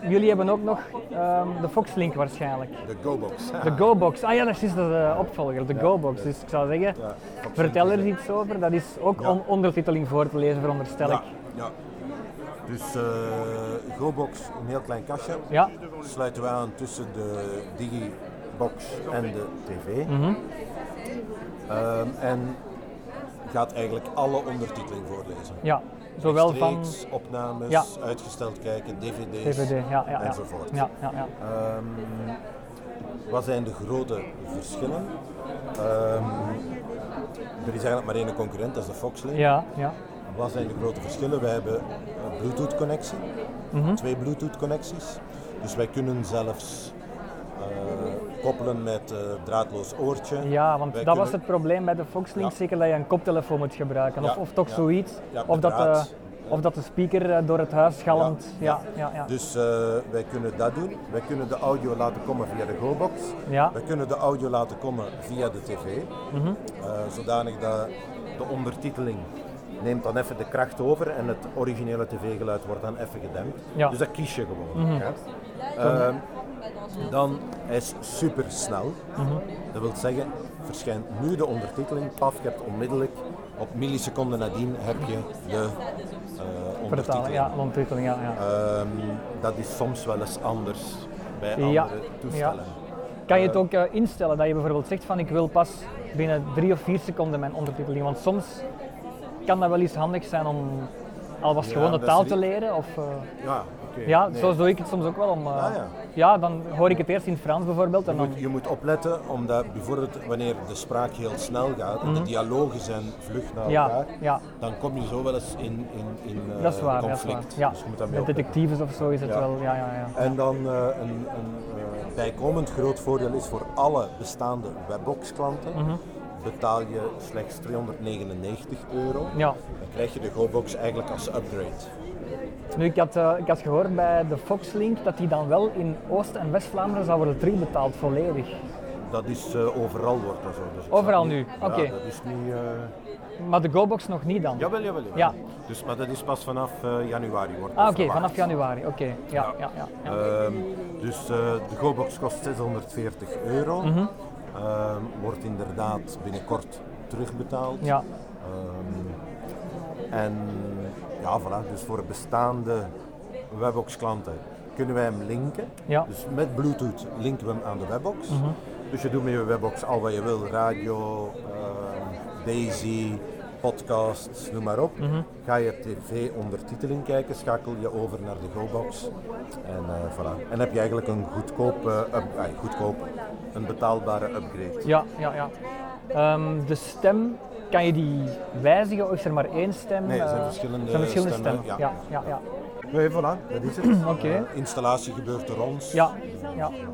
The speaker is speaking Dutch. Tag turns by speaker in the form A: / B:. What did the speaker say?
A: Jullie hebben ook nog ehm, de Foxlink waarschijnlijk.
B: De GoBox.
A: De GoBox. Ah ja, dat is juist de eh, opvolger, de GoBox. Dus ik zou zeggen,
B: Ja, Foxlink
A: vertel
B: is
A: er
B: het.
A: eens iets over. Dat is ook
B: Ja.
A: om ondertiteling voor te lezen, veronderstel ik.
B: Ja, ja. Dus eh, GoBox, een heel klein kastje.
A: Ja.
B: Sluiten we aan tussen de Digibox en de TV.
A: Mhm.
B: Ehm, en gaat eigenlijk alle ondertiteling voorlezen.
A: Ja, zowel van
B: Rechtstreeks, opnames,
A: Ja.
B: uitgesteld kijken, dvd's,
A: DVD. Ja, ja, ja.
B: enzovoort.
A: Ja, ja, ja.
B: Ehm, wat zijn de grote verschillen? Ehm, er is eigenlijk maar één concurrent, dat is de Foxlink.
A: ja, ja.
B: Wat zijn de grote verschillen? Wij hebben een Bluetooth-connectie,
A: Mhm.
B: twee Bluetooth-connecties. Dus wij kunnen zelfs eh, koppelen met eh, draadloos oortje.
A: Ja, want
B: Wij
A: dat was
B: kunnen-
A: het probleem bij de Foxlink,
B: Ja.
A: zeker dat je een koptelefoon moet gebruiken. Of,
B: Ja,
A: of toch
B: ja.
A: zoiets.
B: Ja,
A: of, dat de,
B: bedraad.
A: of dat de speaker eh, door het huis galmt. Ja, ja, ja.
B: Dus eh, wij kunnen dat doen. Wij kunnen de audio laten komen via de GoBox.
A: Ja.
B: Wij kunnen de audio laten komen via de tv.
A: Mhm.
B: Eh, zodanig dat de ondertiteling neemt dan even de kracht over en het originele tv-geluid wordt dan even gedempt.
A: Ja. Mhm.
B: Dus dat kies je gewoon. ja. Ehm, dan hij is super snel.
A: Mhm.
B: Dat wil zeggen, verschijnt nu de ondertiteling. Paf, je hebt onmiddellijk op milliseconden nadien heb je de eh
A: Vertalen,
B: ondertiteling.
A: ja, ondertiteling, ja. ja.
B: Ehm, dat is soms wel eens anders bij andere
A: Ja,
B: toestellen.
A: Kan je het ook eh, instellen dat je bijvoorbeeld zegt van ik wil pas binnen drie of vier seconden mijn ondertiteling? Want soms kan dat wel eens handig zijn om al was het
B: Ja,
A: gewoon de
B: dat is
A: taal
B: niet-
A: te leren. Of, eh,
B: Ja, oké.
A: ja,
B: Nee.
A: zo doe ik het soms ook wel. Om, eh,
B: Ah, ja.
A: dan hoor ik het eerst in het Frans bijvoorbeeld. En
B: Je
A: dan,
B: moet, je moet opletten, omdat bijvoorbeeld wanneer de spraak heel snel gaat en de dialogen zijn vlug naar
A: Mhm. ja,
B: elkaar,
A: ja,
B: dan kom je zo wel eens in, in, in eh,
A: dat is waar. Dat is waar.
B: conflict.
A: Ja.
B: Dus je moet dat mee
A: Met
B: opletten.
A: detectives of zo is het
B: Ja.
A: wel. Ja, ja, ja.
B: En dan eh, een, een eh, bijkomend groot voordeel is voor alle bestaande Webbox-klanten
A: Mhm.
B: betaal je slechts 299 euro.
A: Ja.
B: Dan krijg je de GoBox eigenlijk als upgrade.
A: Nu, ik had, eh, ik had gehoord bij de Foxlink dat die dan wel in Oost- en West-Vlaanderen zou worden drie betaald volledig.
B: Dat is eh, overal wordt dat zo. Dus ik snap
A: Overal
B: niet-
A: nu,
B: Ja,
A: oké.
B: dat is niet. eh,
A: Maar de GoBox nog niet dan?
B: Jawel, jawel, jawel.
A: Ja.
B: Dus, maar dat is pas vanaf eh, januari wordt dat
A: Ah, oké,
B: verwacht. Nou,
A: vanaf januari. Oké, ja, ja, ja. ja.
B: Ehm, dus eh, de GoBox kost 640 euro.
A: Mhm.
B: Ehm, wordt inderdaad binnenkort terugbetaald.
A: Ja.
B: Ehm, en ja, voilà. Dus voor bestaande Webbox klanten kunnen wij hem linken.
A: Ja. Mhm.
B: Dus met Bluetooth linken we hem aan de Webbox. Dus je doet met je Webbox al wat je wil. Radio, ehm, Daisy, podcasts, noem maar op.
A: Mhm.
B: Ga je tv ondertiteling kijken, schakel je over naar de GoBox. En eh, voilà. En heb je eigenlijk een goedkoop, eh, up- ah, goedkoop, een betaalbare upgrade.
A: ja, ja, ja. Ehm, de stem, kan je die wijzigen of is er maar één stem?
B: Nee, er zijn
A: Eh,
B: verschillende
A: er zijn verschillende
B: stemmen,
A: stemmen.
B: ja.
A: Ja, ja, ja.
B: Nee, Eh, voilà, dat is het.
A: Oké.
B: Eh, installatie gebeurt door ons.
A: ja, ja.